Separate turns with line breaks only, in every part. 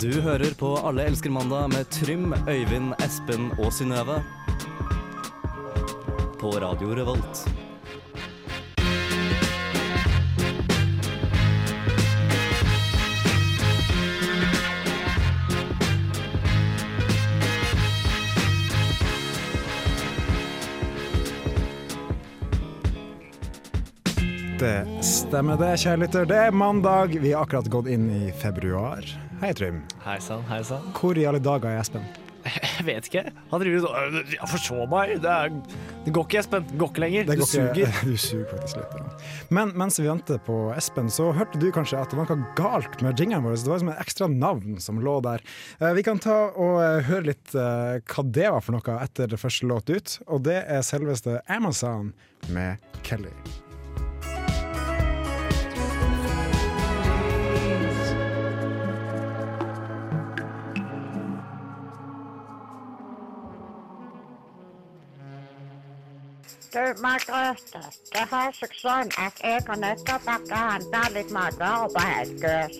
Du hører på Alle elsker mandag med Trym, Øyvind, Espen og Synnøve. På Radio Revolt.
Det stemmer det, kjære lytter. Det er mandag. Vi har akkurat gått inn i februar. Hei, Trym.
Hei sann, hei sann.
Hvor i alle dager er Espen?
Jeg vet ikke. Han driver sånn «Øh, ja, Forså meg! Det, er, det går ikke, Espen. Det går ikke lenger.
Det
du
går ikke-
suger.
Du suger faktisk litt. ja. Men mens vi venter på Espen, så hørte du kanskje at det var noe galt med jingeren vår. Så det var som et ekstra navn som lå der. Eh, Vi kan ta og eh, høre litt eh, hva det var for noe etter det første låt ut. Og det er selveste Amazon med Kelly.
Du, Margrethe, det har seg sånn at jeg og Nøtterbakke handler litt matvarer på Helgøs.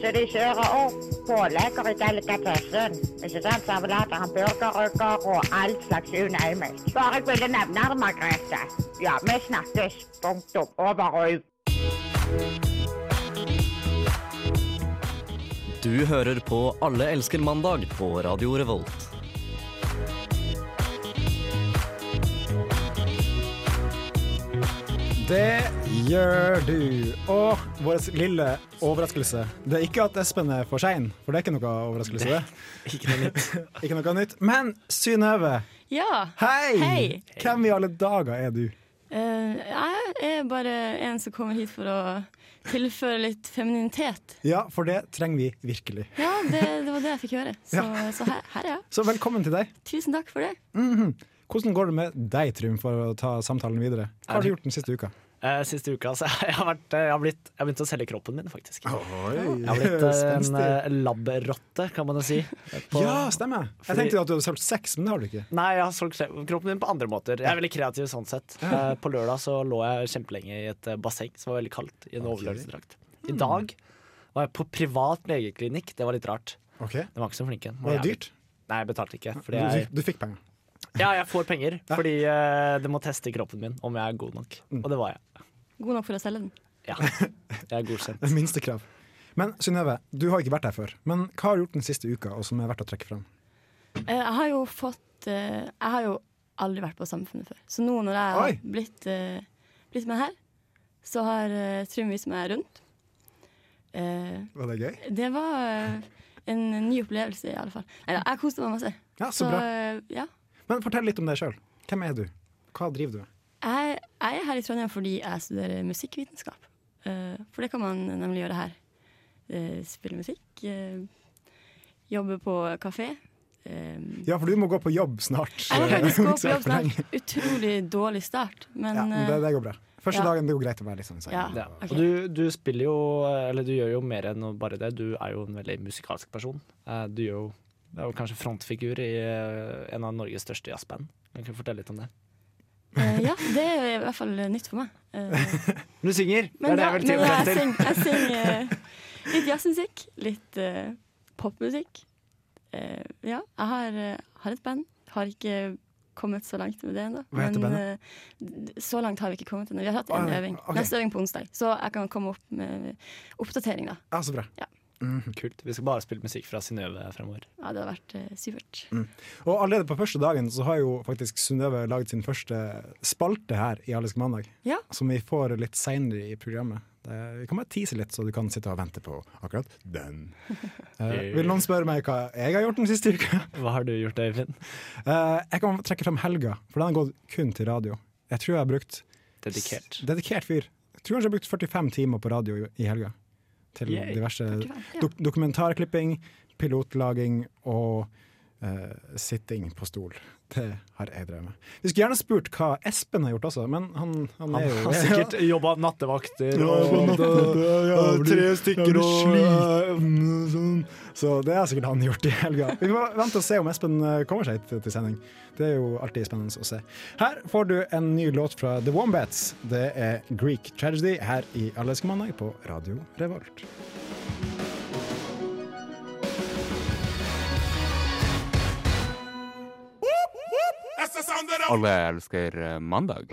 Så de kjører opp pålegger i delikatessen. Ikke sant? Servelater, hamburgerrygger og all slags you name it. Bare jeg ville nevne det, Margrethe. Ja, vi snakkes. Punktum. Over og ut.
Du hører på Alle elsker mandag på Radio Revolt.
Det gjør du. Og vår lille overraskelse. Det er ikke at Espen er for sein, for det er ikke noe overraskelse. Det.
Ikke noe nytt.
Ikke noe nytt. Men Synnøve,
Ja.
hei!
Hei.
Hvem i alle dager er du?
Eh, jeg er bare en som kommer hit for å tilføre litt femininitet.
Ja, for det trenger vi virkelig.
Ja, det, det var det jeg fikk høre. Så, så her, her er jeg.
Så velkommen til deg.
Tusen takk for det.
Hvordan går det med deg, Trym, for å ta samtalen videre? Hva har du gjort den siste uka?
Eh, siste uka så jeg har vært, jeg har blitt, jeg har begynt å selge kroppen min, faktisk. Jeg
Oi,
har blitt eh, en eh, labrotte, kan man jo si. På-
Ja, stemmer. Jeg
Fordi-
tenkte jo at du hadde solgt sex, men det har du ikke.
Nei, jeg har solgt kle- kroppen min på andre måter. Jeg er veldig kreativ sånn sett. Eh, På lørdag så lå jeg kjempelenge i et eh, basseng som var veldig kaldt, i en overlevelsesdrakt.
Hmm.
I dag var jeg på privat legeklinikk. Det var litt rart.
Ok,
De var ikke så flinke.
Var det dyrt?
Nei, jeg betalte ikke.
Du,
Fordi jeg,
fikk- du fikk penger.
ja, jeg får penger fordi eh, det må teste kroppen min om jeg er god nok.
Mm.
Og det var jeg.
God nok for å selge den.
Ja, jeg er godkjent.
Det minste krav. Men Synnøve, du har ikke vært her før. Men hva har du gjort den siste uka, og som er verdt å trekke fram?
Eh, jeg har jo fått eh, Jeg har jo aldri vært på Samfunnet før. Så nå når jeg har
Oi.
blitt, eh, blitt med her, så har uh, Trym vist meg rundt. Eh,
Var det gøy?
det var eh, en ny opplevelse, i alle fall. Neida, jeg koste meg masse.
Ja, så bra.
eh, ja.
Men fortell litt om deg sjøl. Hvem er du? Hva driver du med?
Jeg, jeg er her i Trondheim fordi jeg studerer musikkvitenskap. Eh, for det kan man nemlig gjøre her. Eh, spille musikk, eh, jobbe på kafé. eh,
Ja, for du må gå på jobb snart.
jeg må faktisk gå på jobb
For lenge.
snart. Utrolig dårlig start, men
Ja, men
eh,
det, det går bra. Første
ja.
dagen det går greit å være litt sånn sein.
ja,
Ja.
ok.
Og du, du spiller jo, eller du gjør jo mer enn bare det. Du er jo en veldig musikalsk person. Eh, Du gjør jo, du er jo kanskje frontfigur i eh, en av Norges største jazzband. Kan ikke du fortelle litt om det?
Eh, ja, det er i hvert fall nytt for meg. Eh,
Du synger!
men
det
ja,
er
men
det jeg vil
jeg
til.
syng- jeg synger eh, litt jazzmusikk, litt eh, popmusikk. Eh, ja, jeg har, eh, har et band. Har ikke kommet så langt med det ennå.
Hva heter
men, eh, d- så langt har vi ikke kommet ennå. Vi har hatt
Ah,
én
ja,
øving.
ok.
Neste øving på onsdag. Så jeg kan komme opp med oppdatering, da.
Ja, så bra.
Kult. Vi skal bare spille musikk fra Synnøve fremover.
Ja, det hadde vært eh, supert.
Mm.
Og allerede på første dagen så har jo faktisk Synnøve laget sin første spalte her i Alisk mandag.
Ja.
Som vi får litt seinere i programmet. Det, vi kan bare tease litt, så du kan sitte og vente på akkurat den. Eh, vil noen spørre meg hva jeg har gjort den siste uka?
Hva har du gjort, Øyvind?
Eh, jeg kan trekke fram helga, for den har gått kun til radio. Jeg tror jeg har brukt
Dedikert.
Dedikert fyr. Jeg tror kanskje jeg har brukt 45 timer på radio i- i helga. Til
Yay.
diverse
45, ja.
dok dokumentarklipping, pilotlaging og eh, sitting på stol. Det har jeg drevet med. Vi skulle gjerne spurt hva Espen har gjort også, men han, han er
Han
jo
har sikkert jobba nattevakter
Ja,
og
på natten,
og
jeg blir-
tre stykker
jeg blir
og-
sliten, sånn. Så det har sikkert han gjort i helga. Vi får vente og se om Espen eh, kommer seg hit til- til sending. Det er jo alltid spennende å se. Her får du en ny låt fra The Wombats. Det er Greek Tragedy her i Allerske mandag på Radio Revolt.
Alle elsker eh, mandag.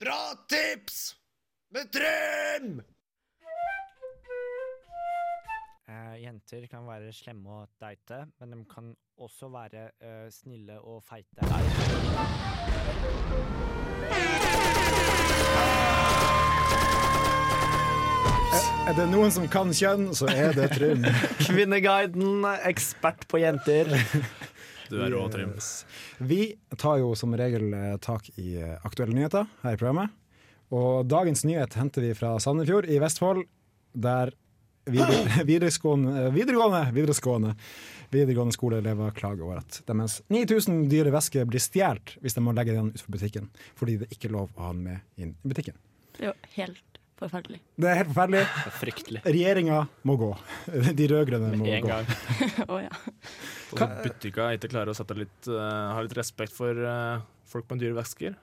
Bra tips med Trym!
Eh, jenter kan være slemme og deite, men de kan også være eh, snille og feite.
Er det noen som kan kjønn, så er det Trym.
Kvinneguiden, ekspert på jenter.
Du er rå, Trym.
Yes. Vi tar jo som regel eh, tak i eh, aktuelle nyheter her i programmet. Og dagens nyhet henter vi fra Sandefjord i Vestfold, der videre, videregående, eh, videregående, videregående, videregående skoleelever klager over at deres 9000 dyre vesker blir stjålet hvis de må legge den utenfor butikken, fordi det ikke er lov å ha den med inn i butikken.
Det er jo helt forferdelig.
Det er helt forferdelig.
Det er fryktelig.
Regjeringa må gå. De rød-grønne må
En
gå.
gang.
Å ja.
Og så butikka ikke klarer å sette litt, eh, ha litt respekt for eh, folk med dyre vesker.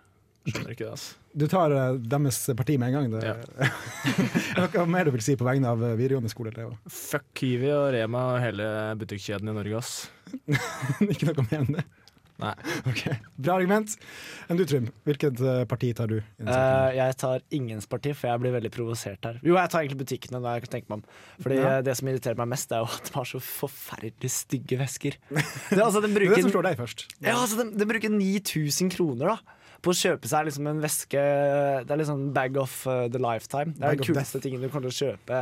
Skjønner ikke det, altså.
Du tar eh, deres parti med en gang. Det.
Ja.
Er det Noe mer du vil si på vegne av eh, videregående skoleelever?
Fuck Kiwi og Rema og hele butikkjeden i Norge, ass.
Ikke noe mer enn det?
Nei.
Ok, Bra argument. Enn du, Trym? Hvilket eh, parti tar du? i denne saken?
Eh, jeg tar ingens parti, for jeg blir veldig provosert her. Jo, jeg tar egentlig butikkene. når jeg kan tenke meg om Fordi
Ja.
eh, Det som irriterer meg mest, er jo at de har så forferdelig stygge vesker. Det, er altså, de
Det er det
bruker,
som slår deg først.
ja, altså, de, de bruker 9000 kroner da på å kjøpe seg liksom en veske Det er liksom bag of eh, the lifetime. Det
Bag
er den
of
kuleste tingen du kommer til å kjøpe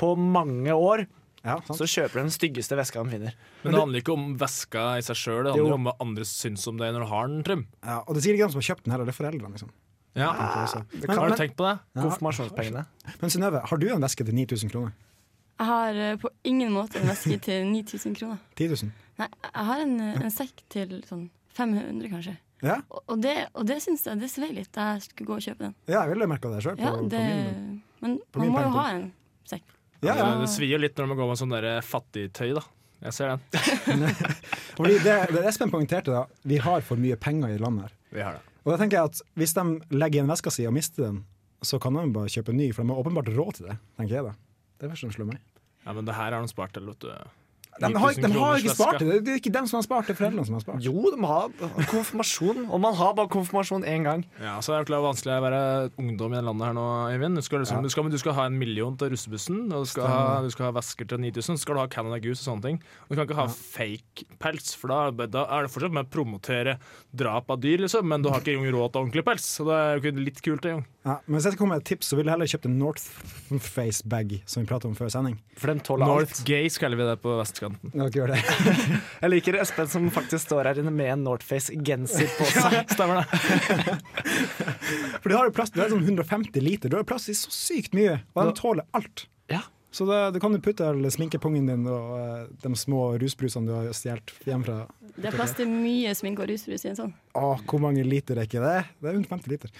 på mange år.
Ja, sant.
Så kjøper du den styggeste veska de finner.
Men det handler ikke om veska i seg sjøl, det
Jo.
handler jo om hva andre syns om deg når du har den, Trym.
Ja, og det sier ikke de som har kjøpt den heller, det er foreldrene. liksom.
Ja.
Også. Men,
Ah, Har du
men,
tenkt på det?
Konfirmasjonspengene.
men Synnøve, har du en veske til 9000 kroner?
Jeg har eh, på ingen måte en veske til 9000 kroner.
10 000?
Nei, jeg har en, eh, en sekk til sånn 500, kanskje.
Ja,
Og, og det, og det syns jeg det svei litt da jeg skulle gå og kjøpe den.
ja jeg ville merka det sjøl.
Ja, det, men
på min
man må jo
pengepung.
ha en sekk.
Ja, ja.
Det svir jo litt når man går med sånn der fattigtøy, da. Jeg ser den.
Fordi det, det Espen poengterte, da, vi har for mye penger i landet her.
Vi har det.
Og da tenker jeg at Hvis de legger igjen veska si og mister den, så kan de bare kjøpe en ny, for de har åpenbart råd til det. tenker jeg da. Det er det første som slår meg.
Ja, men det her har de spart til, vet du.
De har, ikke- de
9000
har ikke
kroners
spart
veske.
det! Det er ikke dem som har spart, det er foreldrene som har spart.
Jo, de har konfirmasjon. Og man har bare konfirmasjon én gang.
Ja, så er det klart vanskelig å være ungdom i det landet her nå, Øyvind. Du skal, liksom, du, skal, men du skal ha en million til russebussen, og du skal, ha, du skal ha vesker til 9000, så skal du ha Canada Goose og sånne ting. Og du kan ikke ha fake pels, for da, er det- da er det fortsatt med å promotere drap av dyr, liksom, men du har ikke Jung råd til ordentlig pels, så det er jo ikke litt kult, det, Jung.
Ja, men hvis jeg skal komme med et tips, så ville jeg heller kjøpt en Northface-bag, som vi pratet om før sending.
For de tåler alt.
North Gays kaller vi det på vestkanten.
Dere gjør det.
Jeg liker Espen som faktisk står her inne med en Northface-genser på seg.
Stemmer det.
For du har jo plass du har sånn 150 liter, du har jo plass i så sykt mye, og de tåler alt.
Ja.
Så det, du kan jo putte all sminkepungen din og eh, de små rusbrusene du har stjålet hjemmefra.
Det er plass til mye sminke og rusbrus i en sånn.
Å, hvor mange liter er ikke det? Det er 150 liter.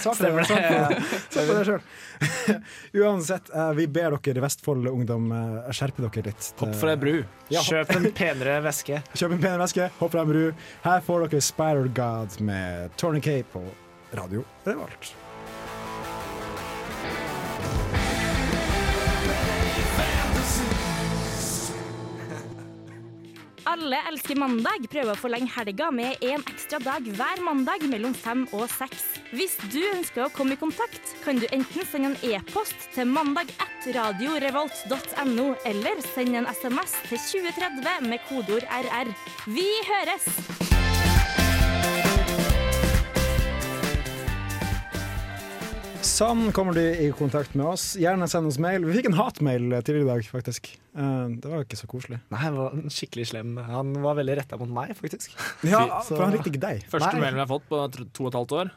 Svarte
Stemmer
dere,
det.
svarte svarte dere sjøl. Uansett, eh, vi ber dere Vestfold-ungdom eh, skjerpe dere litt.
Hopp fra ei bru.
Ja.
Kjøp en penere veske.
Kjøp en pen veske, hopp fra en bru. Her får dere Spider God med Tourniquet på Radio Revolt.
Alle elsker mandag prøver å forlenge helga med en ekstra dag hver mandag mellom fem og seks. Hvis du ønsker å komme i kontakt, kan du enten sende en e-post til mandag1radiorevolt.no, eller sende en SMS til 2030 med kodeord RR. Vi høres!
Sånn kommer du i kontakt med oss. Gjerne send oss mail. Vi fikk en hatmail tidligere i dag, faktisk. Eh, Det var ikke så koselig.
Nei, han var en skikkelig slem. Han var veldig retta mot meg, faktisk.
Ja,
Så-
for han likte ikke deg.
Første
Nei.
mailen vi har fått på tr- to og et halvt år.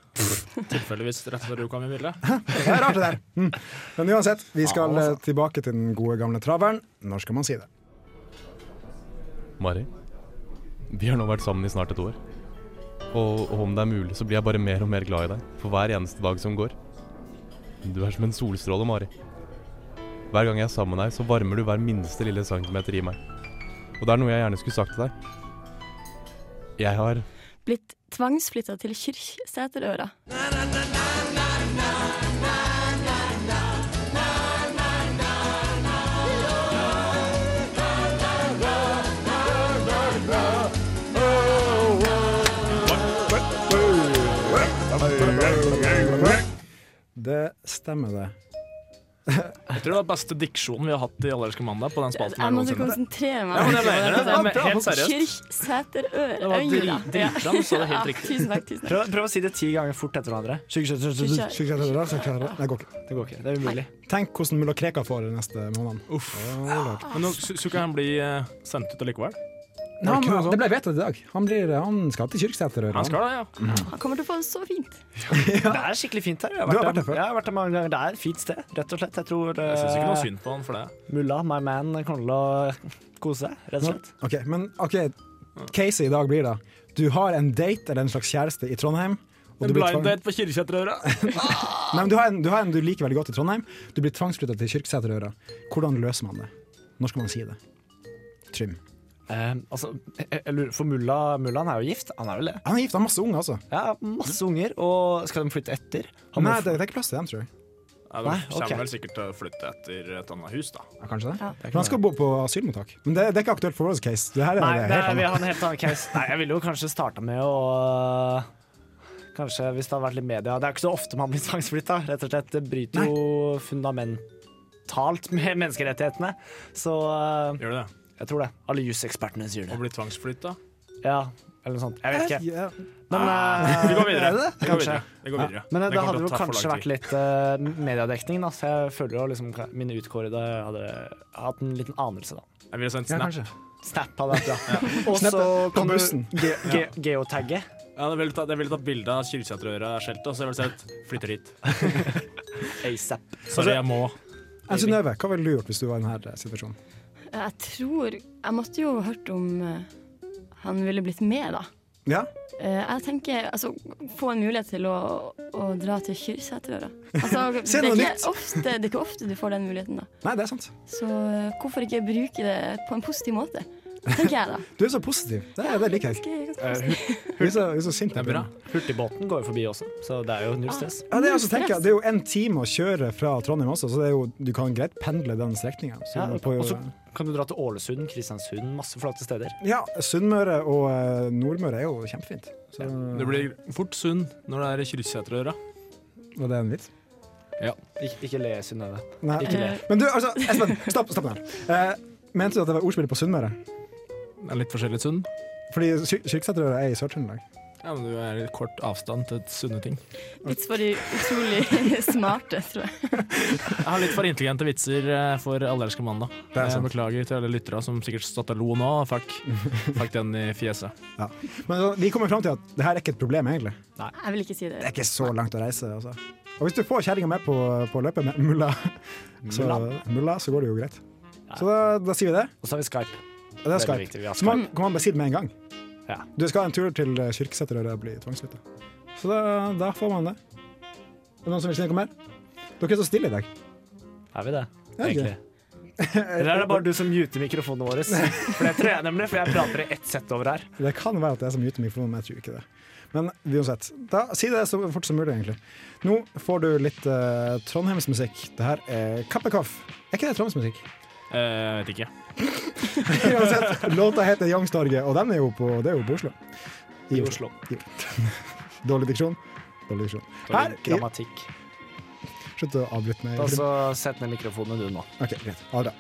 Tilfeldigvis rett før du kom i bildet.
Det er rart, det der. Mm. Men uansett, vi skal eh, tilbake til den gode gamle traveren. Når skal man si det?
Mari, vi har nå vært sammen i snart et år. Og, og om det er mulig, så blir jeg bare mer og mer glad i deg for hver eneste dag som går. Du er som en solstråle, Mari. Hver gang jeg er sammen med deg, så varmer du hver minste lille centimeter i meg. Og det er noe jeg gjerne skulle sagt til deg. Jeg har
Blitt tvangsflytta til Kyrksæterøra.
Stemmer det.
Jeg tror det er beste diksjonen vi har hatt i Allerske mandag. på den spalten her
Jeg måtte
noensinne.
konsentrere meg.
Ja, men jeg mener det. Jeg mener- Helt seriøst.
Kyrksæterør.
Det var drit-
Øyla. Ja.
dritbra, du sa det helt
Ja,
riktig.
Tusen takk. tusen
Prøv,
takk.
prøv å si det ti ganger fort etter hverandre. Sjuk- sjuk- sjuk- sjuk- sjuk-
Slik at det er bra, så klarer jeg det. Det går ikke.
Det går ikke. Det er umulig.
Tenk hvordan mulla Krekar får det neste måned.
Uff.
Å, lord.
Men nå su- skulle ikke han bli eh, sendt ut allikevel?
Nei,
ikke noe
han,
sånt?
det ble vedtatt i dag. Han, blir, eh, han skal til Kyrksæter.
Han skal det, ja.
Mm.
Han kommer til å få det så fint.
Det er skikkelig fint her. Jeg
Du har
har vært
vært
der,
der før?
Jeg har vært der mange ganger. Det er et fint sted, rett og slett. Jeg tror
Jeg syns ikke noe
eh,
synd på han for det.
mulla, my man, kommer til å kose seg, rett og slett.
Ok, men ok, caset i dag blir da Du har en date eller en slags kjæreste i Trondheim. og
En
du blir
blind
tvang-
date på Kirkjetrøra.
Nei, men du har, en, du har en du liker veldig godt i Trondheim. Du blir tvangsflytta til Kyrksæterøra. Hvordan løser man det? Når skal man si det? Trym.
Eh, altså, jeg, jeg lurer, for mulla, mullaen er jo gift. Han er vel det?
Han er gift, han har masse unger, altså.
Ja, masse unger. Og skal de flytte etter? Han må
Nei,
få-
det, det er ikke plass til dem, tror jeg.
Ja, de
Nei,
kommer
ok.
vel sikkert til å flytte etter et annet hus, da.
Ja, kanskje det?
Ja.
For han skal bo på asylmottak. Men det, det er ikke aktuelt for vår case. Det her er
Nei,
det
det
helt
er, vi
annet.
har en helt annen case. Nei, jeg ville jo kanskje starta med å Kanskje hvis det hadde vært litt media Det er ikke så ofte man blir tvangsflytta, rett og slett. Det bryter
Nei.
jo fundamentalt med menneskerettighetene. Så eh,
Gjør det?
jeg tror det. Alle jusekspertene sier
Og
det.
bli tvangsflytta?
Ja, eller noe sånt. Jeg vet ikke.
Ja.
Men eh,
Ah. Vi går videre. Vi går
Kanskje.
videre. Vi går videre.
Men det,
kommer
hadde
til å
jo
ta for
kanskje
lang
vært
tid.
litt eh, mediedekning, da, så jeg føler jo liksom ka- mine utkårede hadde hatt en liten anelse, da.
Jeg ville sendt
Ja,
snap.
kanskje.
Snap hadde vært bra. Og
Snap
så
på
kan du
bussen.
ge ge geotagge.
Ja, jeg ville tatt, jeg ville tatt bilde av Kirkjetrøra-skiltet, så jeg ville sett 'flytter hit'.
ASAP.
Sorry, jeg må.
Enn Synnøve, hva ville du gjort hvis du var i denne situasjonen?
Jeg tror Jeg måtte jo ha hørt om eh, han ville blitt med, da.
Ja?
Eh, Jeg tenker, altså, Få en mulighet til å, å dra til Kyrksæterøra. Altså, det,
Se
er
noe nytt.
ikke ofte- det er ikke ofte du får den muligheten. da.
Nei, det er sant.
Så eh, hvorfor ikke bruke det på en positiv måte, tenker jeg da.
Du er så positiv. Det, er- det liker jeg.
Ganske, ganske positivt.
Du er så, du er så sint.
Det er bra.
Hurtigbåten går jo forbi også, så det er jo null stress.
Ja, det, er, altså, tenker, jeg, det er jo en time å kjøre fra Trondheim også, så det er jo, du kan greit pendle den strekninga.
Ja, og så kan du dra til Ålesund, Kristiansund, masse flotte steder.
Ja, Sunnmøre og eh, Nordmøre er jo kjempefint. Så,
Du blir fort sunn når det er Kirkjetrøra.
Var det en vits?
Ik ikke le, Synnøve.
Nei.
Ikke
Eh.
le.
Men du, altså, Espen, stopp, stopp den her. Eh, mente du at det var ordspillet på Sunnmøre?
Det er litt forskjellig sunn.
Fordi Kyr- Kyrksæterøra er i Sør-Trøndelag.
Ja, men du er i kort avstand til sunne ting.
Vits for de utrolig smarte, tror jeg.
Jeg har litt for intelligente vitser eh, for Allerske mandag.
er
Jeg
sant.
beklager til alle lyttere som sikkert satt og lo nå og fikk, fikk den i fjeset.
Men så, vi kommer fram til at det her er ikke et problem, egentlig.
Jeg vil ikke si
Det
det.
er ikke så langt å reise. Altså. Og hvis du får kjerringa med på, på løpet med mulla så, mulla, så går det jo greit. Så da, da sier vi det.
Og så har vi Skype.
Og det er
Veldig
Skype.
viktig. Vi har
Så man,
Skype.
kan man bare si det med en gang.
Ja.
Du skal en tur til Kyrksæterøra og bli tvangsflytta. Så da, da får man det. Er det noen som vil si noe mer? Dere er så stille i dag.
Er vi det,
Er vi
egentlig? Eller er det bare du som muter mikrofonene våre? For det tror jeg nemlig, for jeg prater i ett sett over her.
Det kan være at det er så mye til mikrofonen, men jeg tror ikke det. Men uansett, da, si det så fort som mulig, egentlig. Nå får du litt eh, trondheimsmusikk. Det her er Kappekoff. Er ikke det trondheimsmusikk?
Eh, vet ikke.
Uansett, låta heter Youngstorget, og den er jo på, det er jo på Oslo. I,
Oslo.
Dårlig diksjon. Dårlig diksjon. Her, i-
Grammatikk.
slutt å avbryte meg.
Ta så Sett ned mikrofonene du nå.
Ok, greit. Ha det.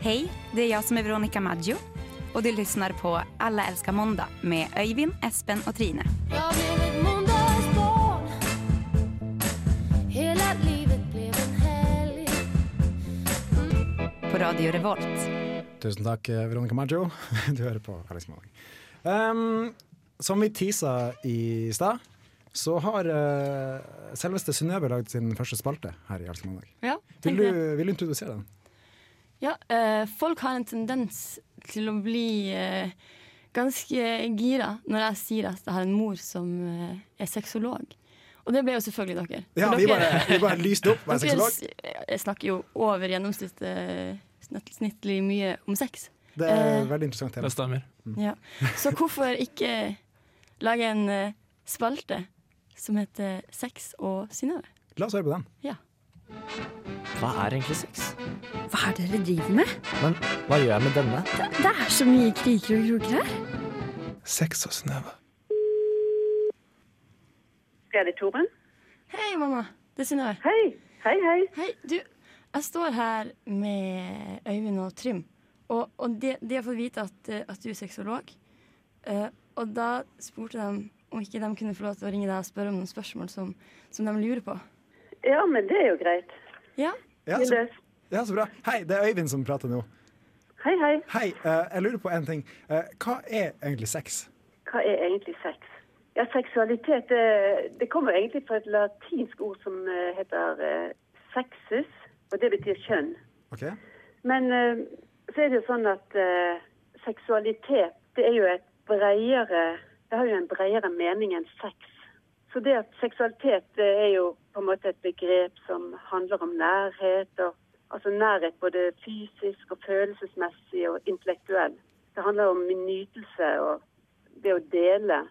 Hej, det är jag som är Veronica Maggio och du lyssnar på Alla älskar måndag med Öyvind, Espen och Trine.
Jag blev ett måndagsbarn Hela livet blev en helg
På Radio Revolt.
Tusen takk, eh, Veronica Maggio. Du hører på Hellingsmandag. Um, som vi tisa i stad, så har eh, selveste Synnøve lagd sin første spalte her i Hellingsmandag.
Ja,
Vil,
tenker jeg.
du- vil du introdusere den?
Ja, eh, folk har en tendens til å bli eh, ganske gira når jeg sier at jeg har en mor som eh, er sexolog. Og det ble jo selvfølgelig dere. For
Ja,
dere,
vi bare, vi bare lyste opp. Vær
dere
sexolog.
s- Jeg snakker jo over gjennomsnittet eh, snitt- snittlig mye om sex.
Det er
Eh,
et veldig interessant tema.
Det stemmer.
Mm.
Ja. Så hvorfor ikke lage en eh, spalte som heter Sex og Synnøve?
La oss høre på den.
Ja.
Hva er egentlig sex?
Hva er det dere driver med?
Men hva gjør jeg med denne?
Det, det er så mye kriker og kroker her.
Sex og snøve.
Kreditoren.
Hei, mamma. Det er Synnøve.
Hei. Hei, hei.
du, jeg står her med Øyvind og Trym, og, og de, de har fått vite at, eh, at du er sexolog. Eh, og da spurte de om ikke de kunne få lov til å ringe deg og spørre om noen spørsmål som, som de lurer på.
Ja, men det er jo greit.
Ja.
Ja, så, ja, så bra. Hei, det er Øyvind som prater nå.
Hei, hei.
Hei, eh, jeg lurer på en ting. Eh, hva er egentlig sex?
Hva er egentlig sex? Ja, seksualitet det, det kommer egentlig fra et latinsk ord som eh, heter eh, sexus, og det betyr kjønn.
Ok.
Men eh, så er det jo sånn at eh, seksualitet, det er jo et bredere Det har jo en bredere mening enn sex. Så det at seksualitet det er jo på en måte et begrep som handler om nærhet, og altså nærhet både fysisk og følelsesmessig og intellektuell. Det handler om nytelse og det å dele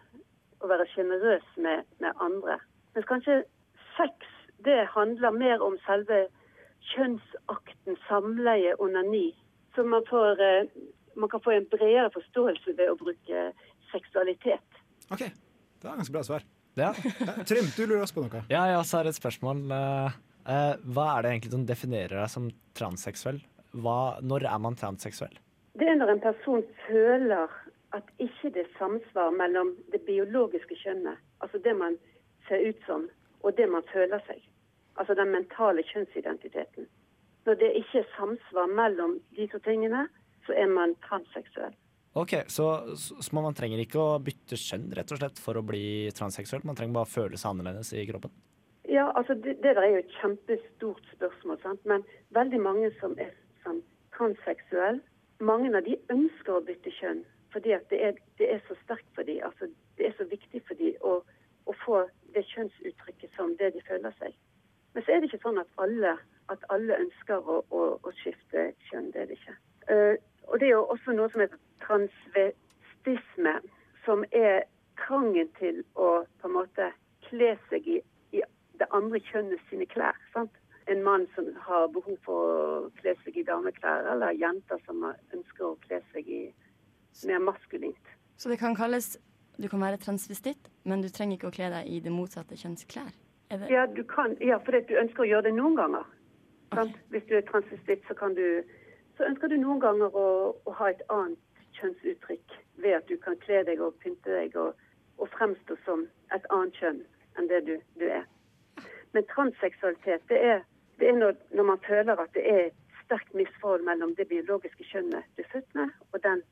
og være sjenerøs med, med andre. Mens kanskje sex, det handler mer om selve kjønnsakten, samleie, onani. Så man, får, eh, man kan få en bredere forståelse ved å bruke seksualitet.
OK. Det var ganske bra svar.
Ja.
Eh, Trym, du lurer også på noe.
Ja, jeg også har et spørsmål. Eh, eh, hva er det egentlig som definerer deg som transseksuell? Hva, når er man transseksuell?
Det er når en person føler at ikke det er samsvar mellom det biologiske kjønnet, altså det man ser ut som, og det man føler seg. Altså den mentale kjønnsidentiteten. Når det ikke er samsvar mellom de to tingene, så er man transseksuell.
Ok, så, så så man trenger ikke å bytte kjønn rett og slett for å bli transseksuell? Man trenger bare å føle seg annerledes i kroppen?
Ja, altså det, det der er jo et kjempestort spørsmål, sant? men veldig mange som er sånn, transseksuelle, mange av de ønsker å bytte kjønn. Fordi at det er, det er så sterkt for dem, altså det er så viktig for dem å, å få det kjønnsuttrykket som det de føler seg. Men så er det ikke sånn at alle, at alle ønsker å, å, å skifte kjønn, det er det ikke. Eh, og det er jo også noe som heter transvestisme, som er trangen til å på en måte kle seg i, i det andre kjønnet sine klær. sant? En mann som har behov for å kle seg i dameklær, eller jenter som har- ønsker å kle seg i mer maskulint.
Så det kan kalles Du kan være transvestitt, men du trenger ikke å kle deg i det motsatte kjønns klær. Er det-
Ja, du kan, ja fordi at du ønsker å gjøre det noen ganger. Sant? Hvis du er transvestitt, så, kan du, så ønsker du noen ganger å, å ha et annet kjønnsuttrykk ved at du kan kle deg og pynte deg og, og fremstå som et annet kjønn enn det du, du er. Men transseksualitet, det er, det er når, når man føler at det er et sterkt misforhold mellom det biologiske kjønnet du er født med, og den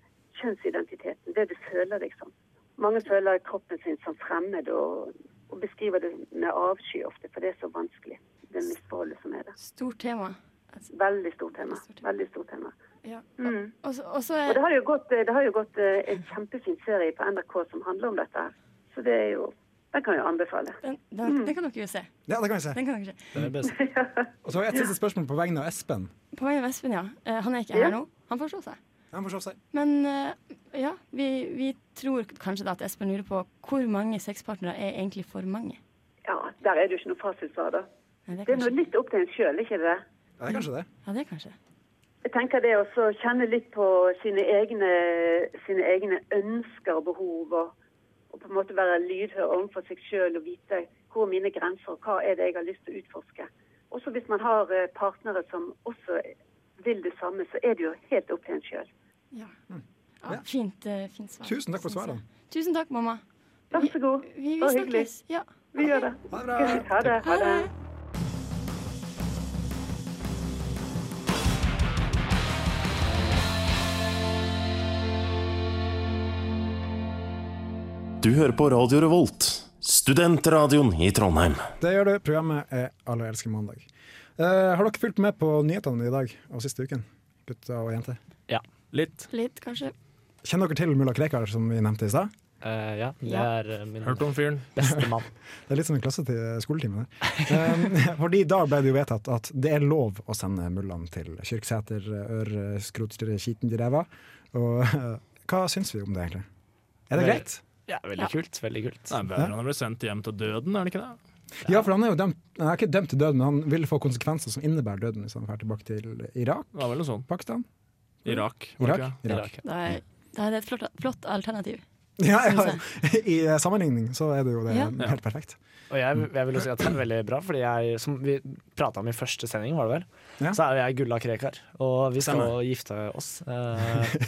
kjønnsidentiteten, det du føler deg som. Mange føler kroppen sin som fremmed og, og beskriver det med avsky ofte, for det er så vanskelig, det misforholdet som er der.
Stort tema. Altså,
Veldig stort tema. Veldig stort tema.
Ja.
Mm.
Og, så- og så
Og
er
det har jo gått, det har jo gått eh, en kjempefin serie på NRK som handler om dette. her. Så det er jo Den kan jeg anbefale.
Den, den,
Mm.
den kan dere jo se.
Ja, det kan vi se.
Den kan dere se.
Det er best. Og så har jeg et siste spørsmål på vegne av Espen.
På vegne av Espen, ja. Eh, han er ikke
Ja.
her nå. Han får se seg.
Han får se seg.
Men eh, ja, vi, vi tror kanskje da at Espen lurer på hvor mange sexpartnere er egentlig for mange.
Ja, der er det jo ikke noe fasitsvar, da.
det er,
Det er noe litt opp til en sjøl, ikke det?
Ja, det er kanskje det.
Ja, det er kanskje det.
Jeg tenker det å så kjenne litt på sine egne, sine egne ønsker og behov, og, og på en måte være lydhør overfor seg sjøl og vite hvor er mine grenser, og hva er det jeg har lyst til å utforske. Også hvis man har eh, partnere som også vil det samme, så er det jo helt opp til en sjøl.
Ja. Mm. Ja, fint, eh, fint svar.
Tusen takk for
Synes jeg.
svarene.
Tusen takk, mamma.
Vær så god.
Vi, vi
Bare hyggelig.
snakkes. Ja.
Vi gjør det.
Ha det
bra. Ha det. Ha det.
Du hører på Radio Revolt, studentradioen i Trondheim.
Det gjør du. Programmet er Alle elsker mandag. Eh, har dere fulgt med på nyhetene i dag og siste uken? Gutter og jenter.
Ja. Litt.
Litt, kanskje.
Kjenner dere til mulla Krekar, som vi nevnte i stad?
Eh, ja, det
Ja.
er eh, min
Hørt om fyren?
bestemann.
Det er litt som en klasse til skoletimen. Um, fordi i dag ble det jo vedtatt at det er lov å sende mullaen til Kyrksæter, Ør, Skrotstyret, Skiten de ræva. Og eh, hva syns vi om det, egentlig? Er det greit?
Ja, veldig kult. veldig kult. Det er bedre enn å bli sendt hjem til døden, er det ikke det?
Ja, for han er jo dømt, han er ikke dømt til døden, men han vil få konsekvenser som innebærer døden hvis han drar tilbake til Irak.
Det var vel noe sånt.
Pakistan?
Irak. var det
Irak?
ikke?
Irak.
Da er, da er det et flott, flott alternativ.
Ja, ja.
Synes
I eh, sammenligning så er det jo det
Ja.
helt perfekt.
Og jeg, jeg vil jo si at det er veldig bra, fordi jeg, som vi prata om i første sending, var det vel,
Ja.
så er jo jeg Gulla Krekar, og vi skal
Stemmer.
jo gifte oss. eh,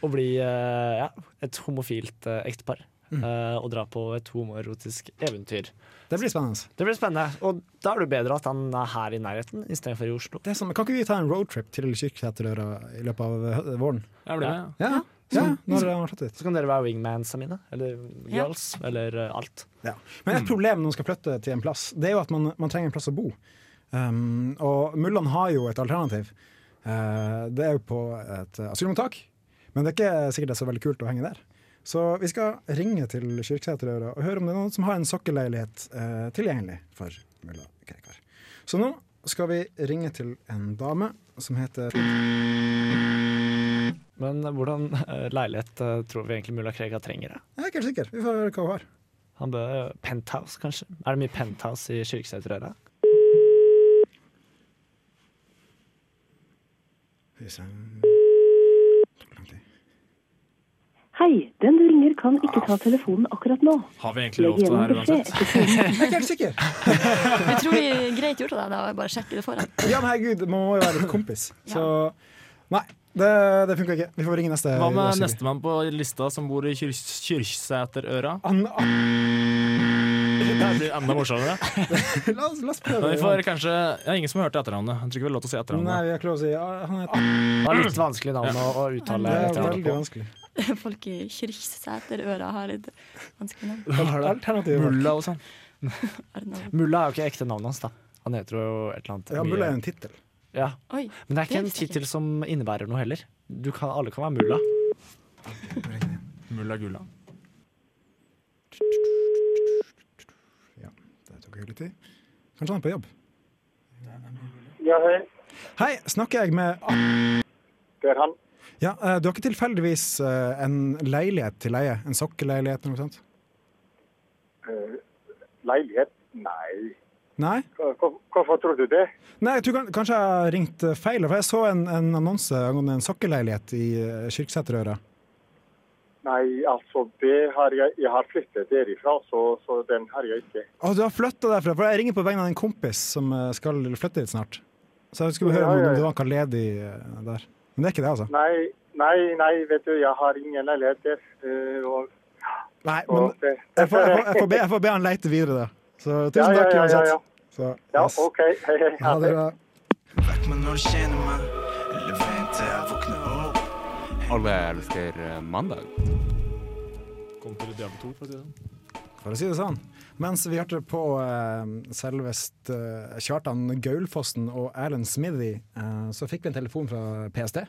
og bli eh, ja, et homofilt eh, ektepar.
Mm.
eh, og dra på et homoerotisk eventyr.
Det blir spennende.
Det blir spennende. Og da er det jo bedre at han er her i nærheten istedenfor i Oslo.
Det er sånn, kan ikke vi ta en roadtrip til Kyrksæterøra i løpet av hø- våren?
Jeg blir med.
Ja, ja, når han har tatt ut.
Så kan dere være wingmansa mine, eller
Ja.
girls, eller eh, alt.
Ja. Men et problem når man skal flytte til en plass, det er jo at man, man trenger en plass å bo. Um, og Mullan har jo et alternativ. Eh, det er jo på et eh, asylmottak, men det er ikke sikkert det er så veldig kult å henge der. Så vi skal ringe til Kyrksæterøra og høre om det er noen som har en sokkelleilighet eh, tilgjengelig for mulla Krekar. Så nå skal vi ringe til en dame som heter
Men hvordan eh, leilighet eh, tror vi egentlig mulla Krekar trenger? da?
Jeg er ikke helt sikker. Vi får høre hva hun har.
Han bør eh, Penthouse, kanskje? Er det mye penthouse i Kyrksæterøra?
Skal vi se.
Hei, den du ringer kan ikke ta telefonen akkurat nå.
Har vi egentlig lov til det her uansett?
Jeg er ikke helt sikker.
Jeg tror det er greit gjort av deg da, å bare sjekke det foran.
Ja, men herregud, man må jo være litt kompis. Så nei, det, det funka ikke. Vi får ringe neste.
Hva med
Silje.
nestemann på lista som bor i Kyrs- Kyrksæterøra? Det blir enda morsommere.
La oss, la
Men
oss prøve.
vi får kanskje Det er ingen som har hørt etternavnet. Jeg tror ikke vi har lov til å si
Nei,
etternavnet.
vi har ikke lov til å si ja, han
Det var
heter
litt vanskelig navn å, å uttale.
Det er
etter
veldig
hverandre på.
vanskelig.
Folk i Kyrksæterøra har litt vanskelig navn.
Alternativ.
Mulla og sånn.
Mulla er jo ikke ekte navnet hans, da. Han heter jo et eller annet
Ja,
mye-
Mulla er en tittel.
Ja.
Oi,
Men det er ikke
det
en
visste jeg
tittel som innebærer noe heller. Du kan, alle kan være mulla.
Mulla Gulla.
Det tok jo litt tid. Kanskje han er på jobb.
Ja, hei.
Hei, snakker jeg med
Det er han.
Ja, eh, Du har ikke tilfeldigvis eh, en leilighet til leie? En sokkeleilighet eller noe sånt?
Eh, Leilighet? Nei.
Nei?
Hva- hva- Hvorfor tror du det?
Nei, jeg tror kan, Kanskje jeg har ringt eh, feil, for jeg så en, en annonse angående en sokkeleilighet i eh, Kyrksæterøra.
Nei, altså, det har jeg, jeg har flyttet derifra, så, så den har jeg ikke.
Å, du har flytta derfra? For jeg ringer på vegne av en kompis som eh, skal flytte dit snart. Så jeg skulle høre
Ja, ja,
om
ja.
det var noe ledig eh, der. Men det er ikke det, altså.
Nei, nei, nei, vet du, jeg har ingen leilighet der. eh, og,
Nei,
og
men
det-
jeg får, jeg, får, jeg, får be, jeg får be han leite videre, da. Så
Ja, ja,
tusen takk
ja, ja,
uansett.
ja.
Så,
Ja,
yes.
OK. Hei, hei.
Ha det bra.
Vekk meg når du kjenner meg, eller vent til jeg våkner opp.
Alle elsker eh, mandag.
Kom til Diablo 2, for å si det sånn.
For å si det sånn. Mens vi hørte på eh, selvest eh, Kjartan Gaulfossen og Erlend Smithy, eh, så fikk vi en telefon fra PST.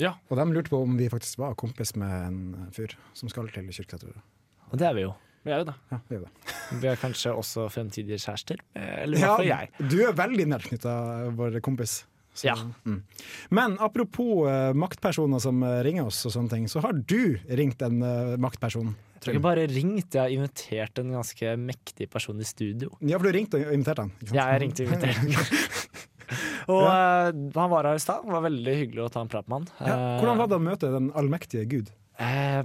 Ja.
Og de lurte på om vi faktisk var kompis med en fyr som skal til Kyrksæterøra.
Og det er vi jo.
Vi er jo det.
Ja, vi er det.
Vi er kanskje også fremtidige kjærester. Eh, Eller i
Ja,
hvert fall jeg.
du er veldig nært knytta vår kompis. Så-
Ja.
Mm. Men apropos eh, maktpersoner som eh, ringer oss, og sånne ting, så har du ringt en eh, maktperson.
Jeg har ikke bare ringt, jeg har invitert en ganske mektig person i studio.
Ja, for du ringte og inviterte han. ikke sant?
Ja, jeg ringte og inviterte han. Og eh, han var her i stad. Det var veldig hyggelig å ta en prat med han.
Ja, hvordan var det å møte den allmektige Gud?
Eh,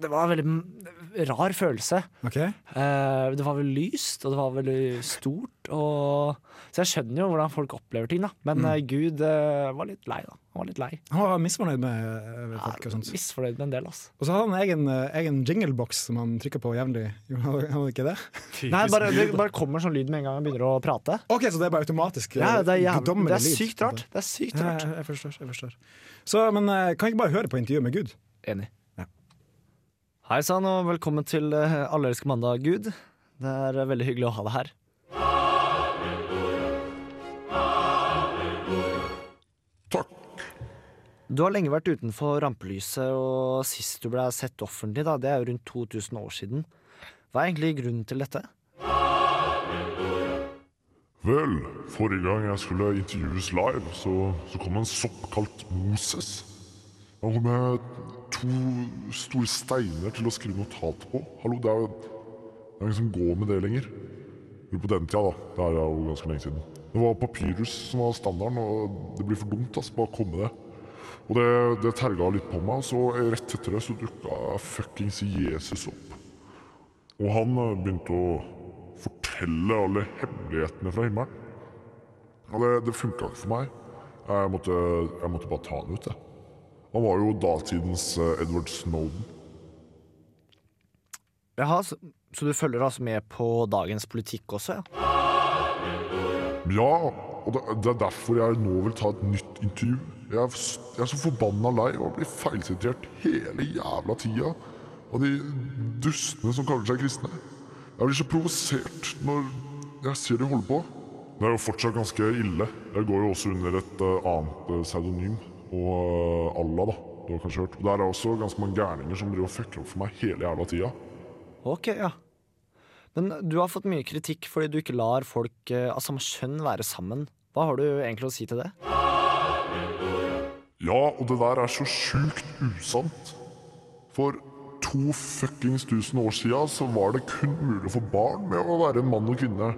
det var en veldig m- rar følelse. Eh, det var veldig lyst, og det var veldig stort. Og... Så jeg skjønner jo hvordan folk opplever ting, da. Men
Mm.
eh, Gud eh, var litt lei, da. Han var litt lei.
Han var misfornøyd med eh, folk og sånt.
Misfornøyd med en del, altså.
Og så hadde han egen, eh, egen jinglebox som han trykka på jevnlig. Jo, Hadde hadde han ikke det?
Nei, bare, det bare kommer sånn lyd med en gang jeg begynner å prate.
Ok, Så det er bare automatisk? eh,
Ja, det er, jævlig,
guddommelig
det er
lyd. altså.
sykt rart. Det er sykt
Ja,
rart.
Eh, jeg forstår. jeg forstår Så, Men eh, kan jeg ikke bare høre på intervjuet med Gud?
Enig. Hei sann, og velkommen til eh, Allelske mandag, Gud. Det er eh, veldig hyggelig å ha deg her. Takk. Du har lenge vært utenfor rampelyset, og sist du ble sett offentlig, da, det er jo rundt 2000 år siden. Hva er egentlig grunnen til dette?
Vel, forrige gang jeg skulle intervjues live, så, så kom en sopp kalt Moses. Han kom med to store steiner til å skrive notat på. Hallo, det er jo det er ingen som går med det lenger. Men på den tida, da. Det her er jo ganske lenge siden. Det var papyrus som var standarden, og det blir for dumt altså, bare å komme det. Og det, det terga litt på meg, og så rett etter det så dukka fuckings Jesus opp. Og han eh, begynte å fortelle alle hemmelighetene fra himmelen. Og det, det funka ikke for meg. Jeg måtte, jeg måtte bare ta han ut, jeg. Han var jo datidens eh, Edward Snowden.
Jaha, så, så du følger altså med på dagens politikk også, ja?
Ja, og det, det er derfor jeg nå vil ta et nytt intervju. Jeg er, s- jeg er så forbanna lei av å bli feilsitert hele jævla tida av de dustene som kaller seg kristne. Jeg blir så provosert når jeg ser de holder på. Det er jo fortsatt ganske ille. Jeg går jo også under et eh, annet eh, pseudonym, og eh, Allah, da. Du har kanskje hørt. Og Der er også ganske mange gærninger som driver og fucker opp for meg hele jævla tida.
Ok, ja. Men du har fått mye kritikk fordi du ikke lar folk eh, av samme kjønn være sammen. Hva har du egentlig å si til det?
Ja, og det der er så sjukt usant. For to fuckings tusen år sia så var det kun mulig for barn med å være en mann og kvinne.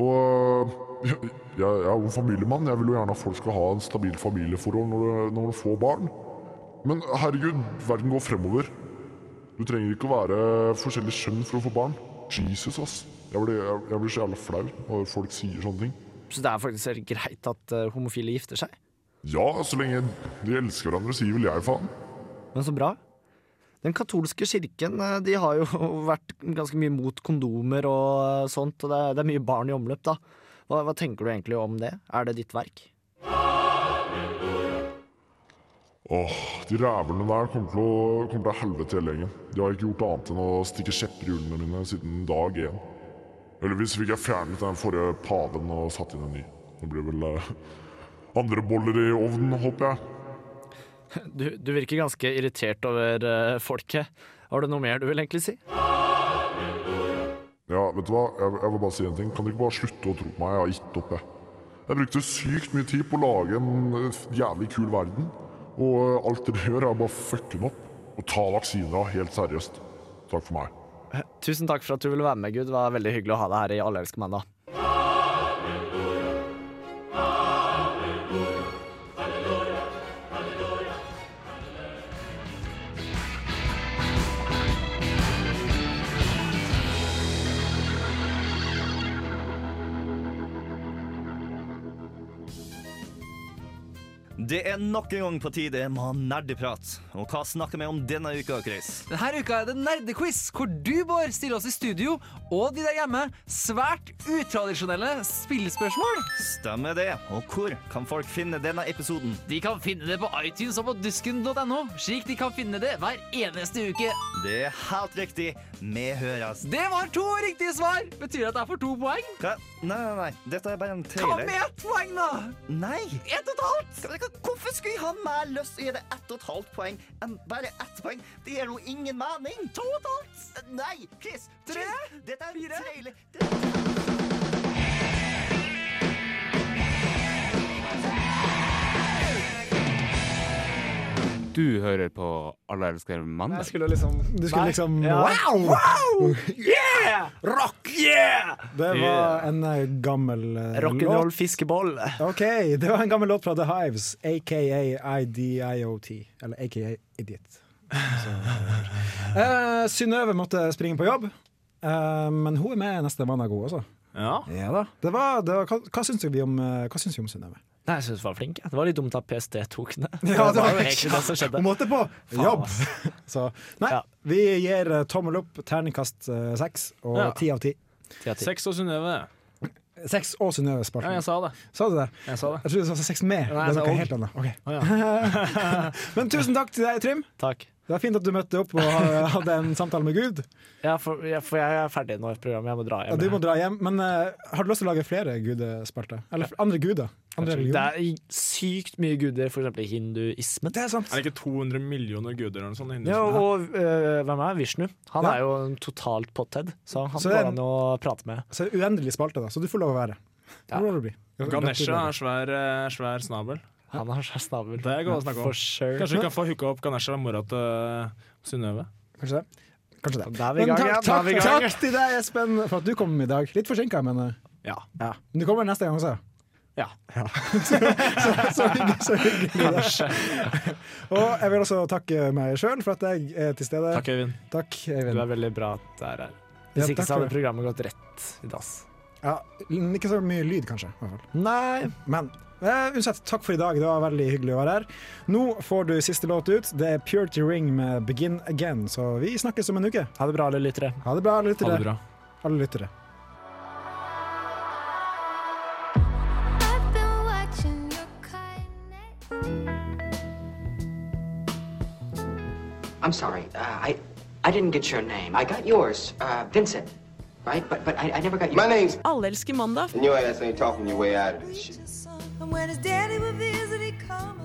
Og jeg, jeg er jo en familiemann. Jeg vil jo gjerne at folk skal ha en stabilt familieforhold når du, når du får barn. Men herregud, verden går fremover. Du trenger ikke å være forskjellig kjønn for å få barn. Jesus, ass. Jeg blir, jeg, jeg blir så jævla flau når folk sier sånne ting.
Så det er faktisk helt greit at eh, homofile gifter seg?
Ja, så lenge de elsker hverandre, sier vel jeg faen.
Men så bra. Den katolske kirken eh, de har jo vært ganske mye mot kondomer og eh, sånt, og det er, det er mye barn i omløp, da. Hva, hva tenker du egentlig om det? Er det ditt verk?
Åh, de rævlene der kommer til, å, kommer til helvete hele gjengen. De har ikke gjort annet enn å stikke kjepper i hjulene mine siden dag én. Heldigvis fikk jeg fjernet den forrige paven og satt inn en ny. Det blir vel eh, andre boller i ovnen, håper jeg.
Du, du virker ganske irritert over eh, folket. Har du noe mer du vil egentlig si?
Ja, vet du hva? Jeg, jeg vil bare si en ting. Kan dere ikke bare slutte å tro på meg? Jeg har gitt opp, jeg. Jeg brukte sykt mye tid på å lage en eh, jævlig kul verden. Og eh, alt dere gjør, er bare å fucke den opp. Og ta vaksina helt seriøst. Takk for meg.
Eh, Tusen takk for at du ville være med, Gud. Det var veldig hyggelig å ha deg her i Allelske mandag.
Det er nok en gang på tide med å ha nerdeprat. Og hva snakker vi om denne uka, Chris?
Denne uka er det nerdequiz, hvor du, Bård, stiller oss i studio og de der hjemme svært utradisjonelle spillespørsmål.
Stemmer det. Og hvor kan folk finne denne episoden?
De kan finne det på iTunes og på dusken.no, slik de kan finne det hver eneste uke.
Det er helt riktig. Vi høres.
Det var to riktige svar! Betyr det at det er for to poeng?
Hva? Nei, nei, nei. Dette er bare en
Hva
trailer.
med ett poeng, da?
Nei!
Ett og et halvt!
Hvorfor skulle jeg ha mer lyst til å gi det ett og et halvt poeng enn bare ett poeng? Det gir jo ingen mening. To og et halvt! Nei, Chris. Tre? Dette er Fire? trailer.
Du hører på Alle elsker mandag.
Jeg skulle liksom Du skulle liksom
Ja.
Wow!
Yeah! Rock, yeah!
Det var en eh, gammel eh,
Rock'n'roll
låt.
fiskeboll.
OK, det var en gammel låt fra The Hives, aka IDIOT. Eller aka Idiot. Så- Eh, Synnøve måtte springe på jobb, eh, men hun er med neste mandag, hun også.
Ja.
da. Det var, det var, hva, hva syns vi om, eh, hva syns vi om Synnøve?
Nei, jeg synes du var flink. jeg. Det var litt dumt at PST tok den.
Ja, det var
jo egentlig det som skjedde.
Hun måtte på
Faen,
jobb!
ass.
Så nei, vi gir eh, tommel opp, terningkast eh, seks
Ja.
og ti av ti.
Sex og Synnøve.
Seks og Synnøve Spartan.
Ja, jeg sa det.
Sa du det?
Jeg sa det.
Jeg trodde du sa sex med.
Nei, jeg
det er
sa
noe
og.
helt annet. Ok.
Å, ja.
Men tusen takk til deg, Trym.
Takk.
Det var fint at du møtte opp og eh, hadde en samtale med Gud.
Ja, for, ja, for jeg er ferdig nå i programmet. Jeg må dra
Ja,
hjem.
du må dra hjem. Men eh, har du lyst til å lage flere gudespalter? Eller andre guder? Andre
det
religioner?
er sykt mye guder, for eksempel hinduismen.
Det er sant.
Er det ikke 200 millioner guder eller noe sånt? i
Ja,
hinduismen?
og øh, hvem er Vishnu? Han
Ja.
er jo en totalt potted, så han
Så det er
går
en-
an å prate med.
Så er det uendelig spalte, da. Så du får lov å være. Det må du bli.
Ganesha har svær, eh, svær snabel.
Han har svær snabel.
Det går det å snakke om.
For sure. eh,
Kanskje vi kan få hooka opp Ganesha og mora til Synnøve.
Kanskje det. Kanskje det.
vi i
Men
gang
takk,
igjen, da er
takk,
vi i gang
takk til deg, Espen, for at du kom i dag. Litt forsinka, men eh,
Ja.
men du kommer neste gang også.
Ja.
så, så hyggelig. Så hyggelig Lars. Og jeg vil også takke meg sjøl for at jeg er til stede.
Takk, Øyvind.
Takk, Øyvind.
Du er veldig bra at du er her.
Ja,
Hvis ikke
takk
så hadde
for det.
programmet gått rett i dass.
Ja, ikke så mye lyd, kanskje. i hvert fall. Men eh, uansett, takk for i dag. Det var veldig hyggelig å være her. Nå får du siste låt ut. Det er Purity Ring med 'Begin Again'. Så vi snakkes om en uke.
Ha det bra, alle lyttere.
Ha det bra, alle lyttere.
Ha det bra.
Alle lyttere.
I've been watching your kindness.
I'm sorry. Uh, I I didn't get your name. I got yours, uh, Vincent, right? But but I, I never got your
My name's-
Alle elsker mandag.
And your ass ain't talking your way out of this shit.
And when his daddy would visit, he'd come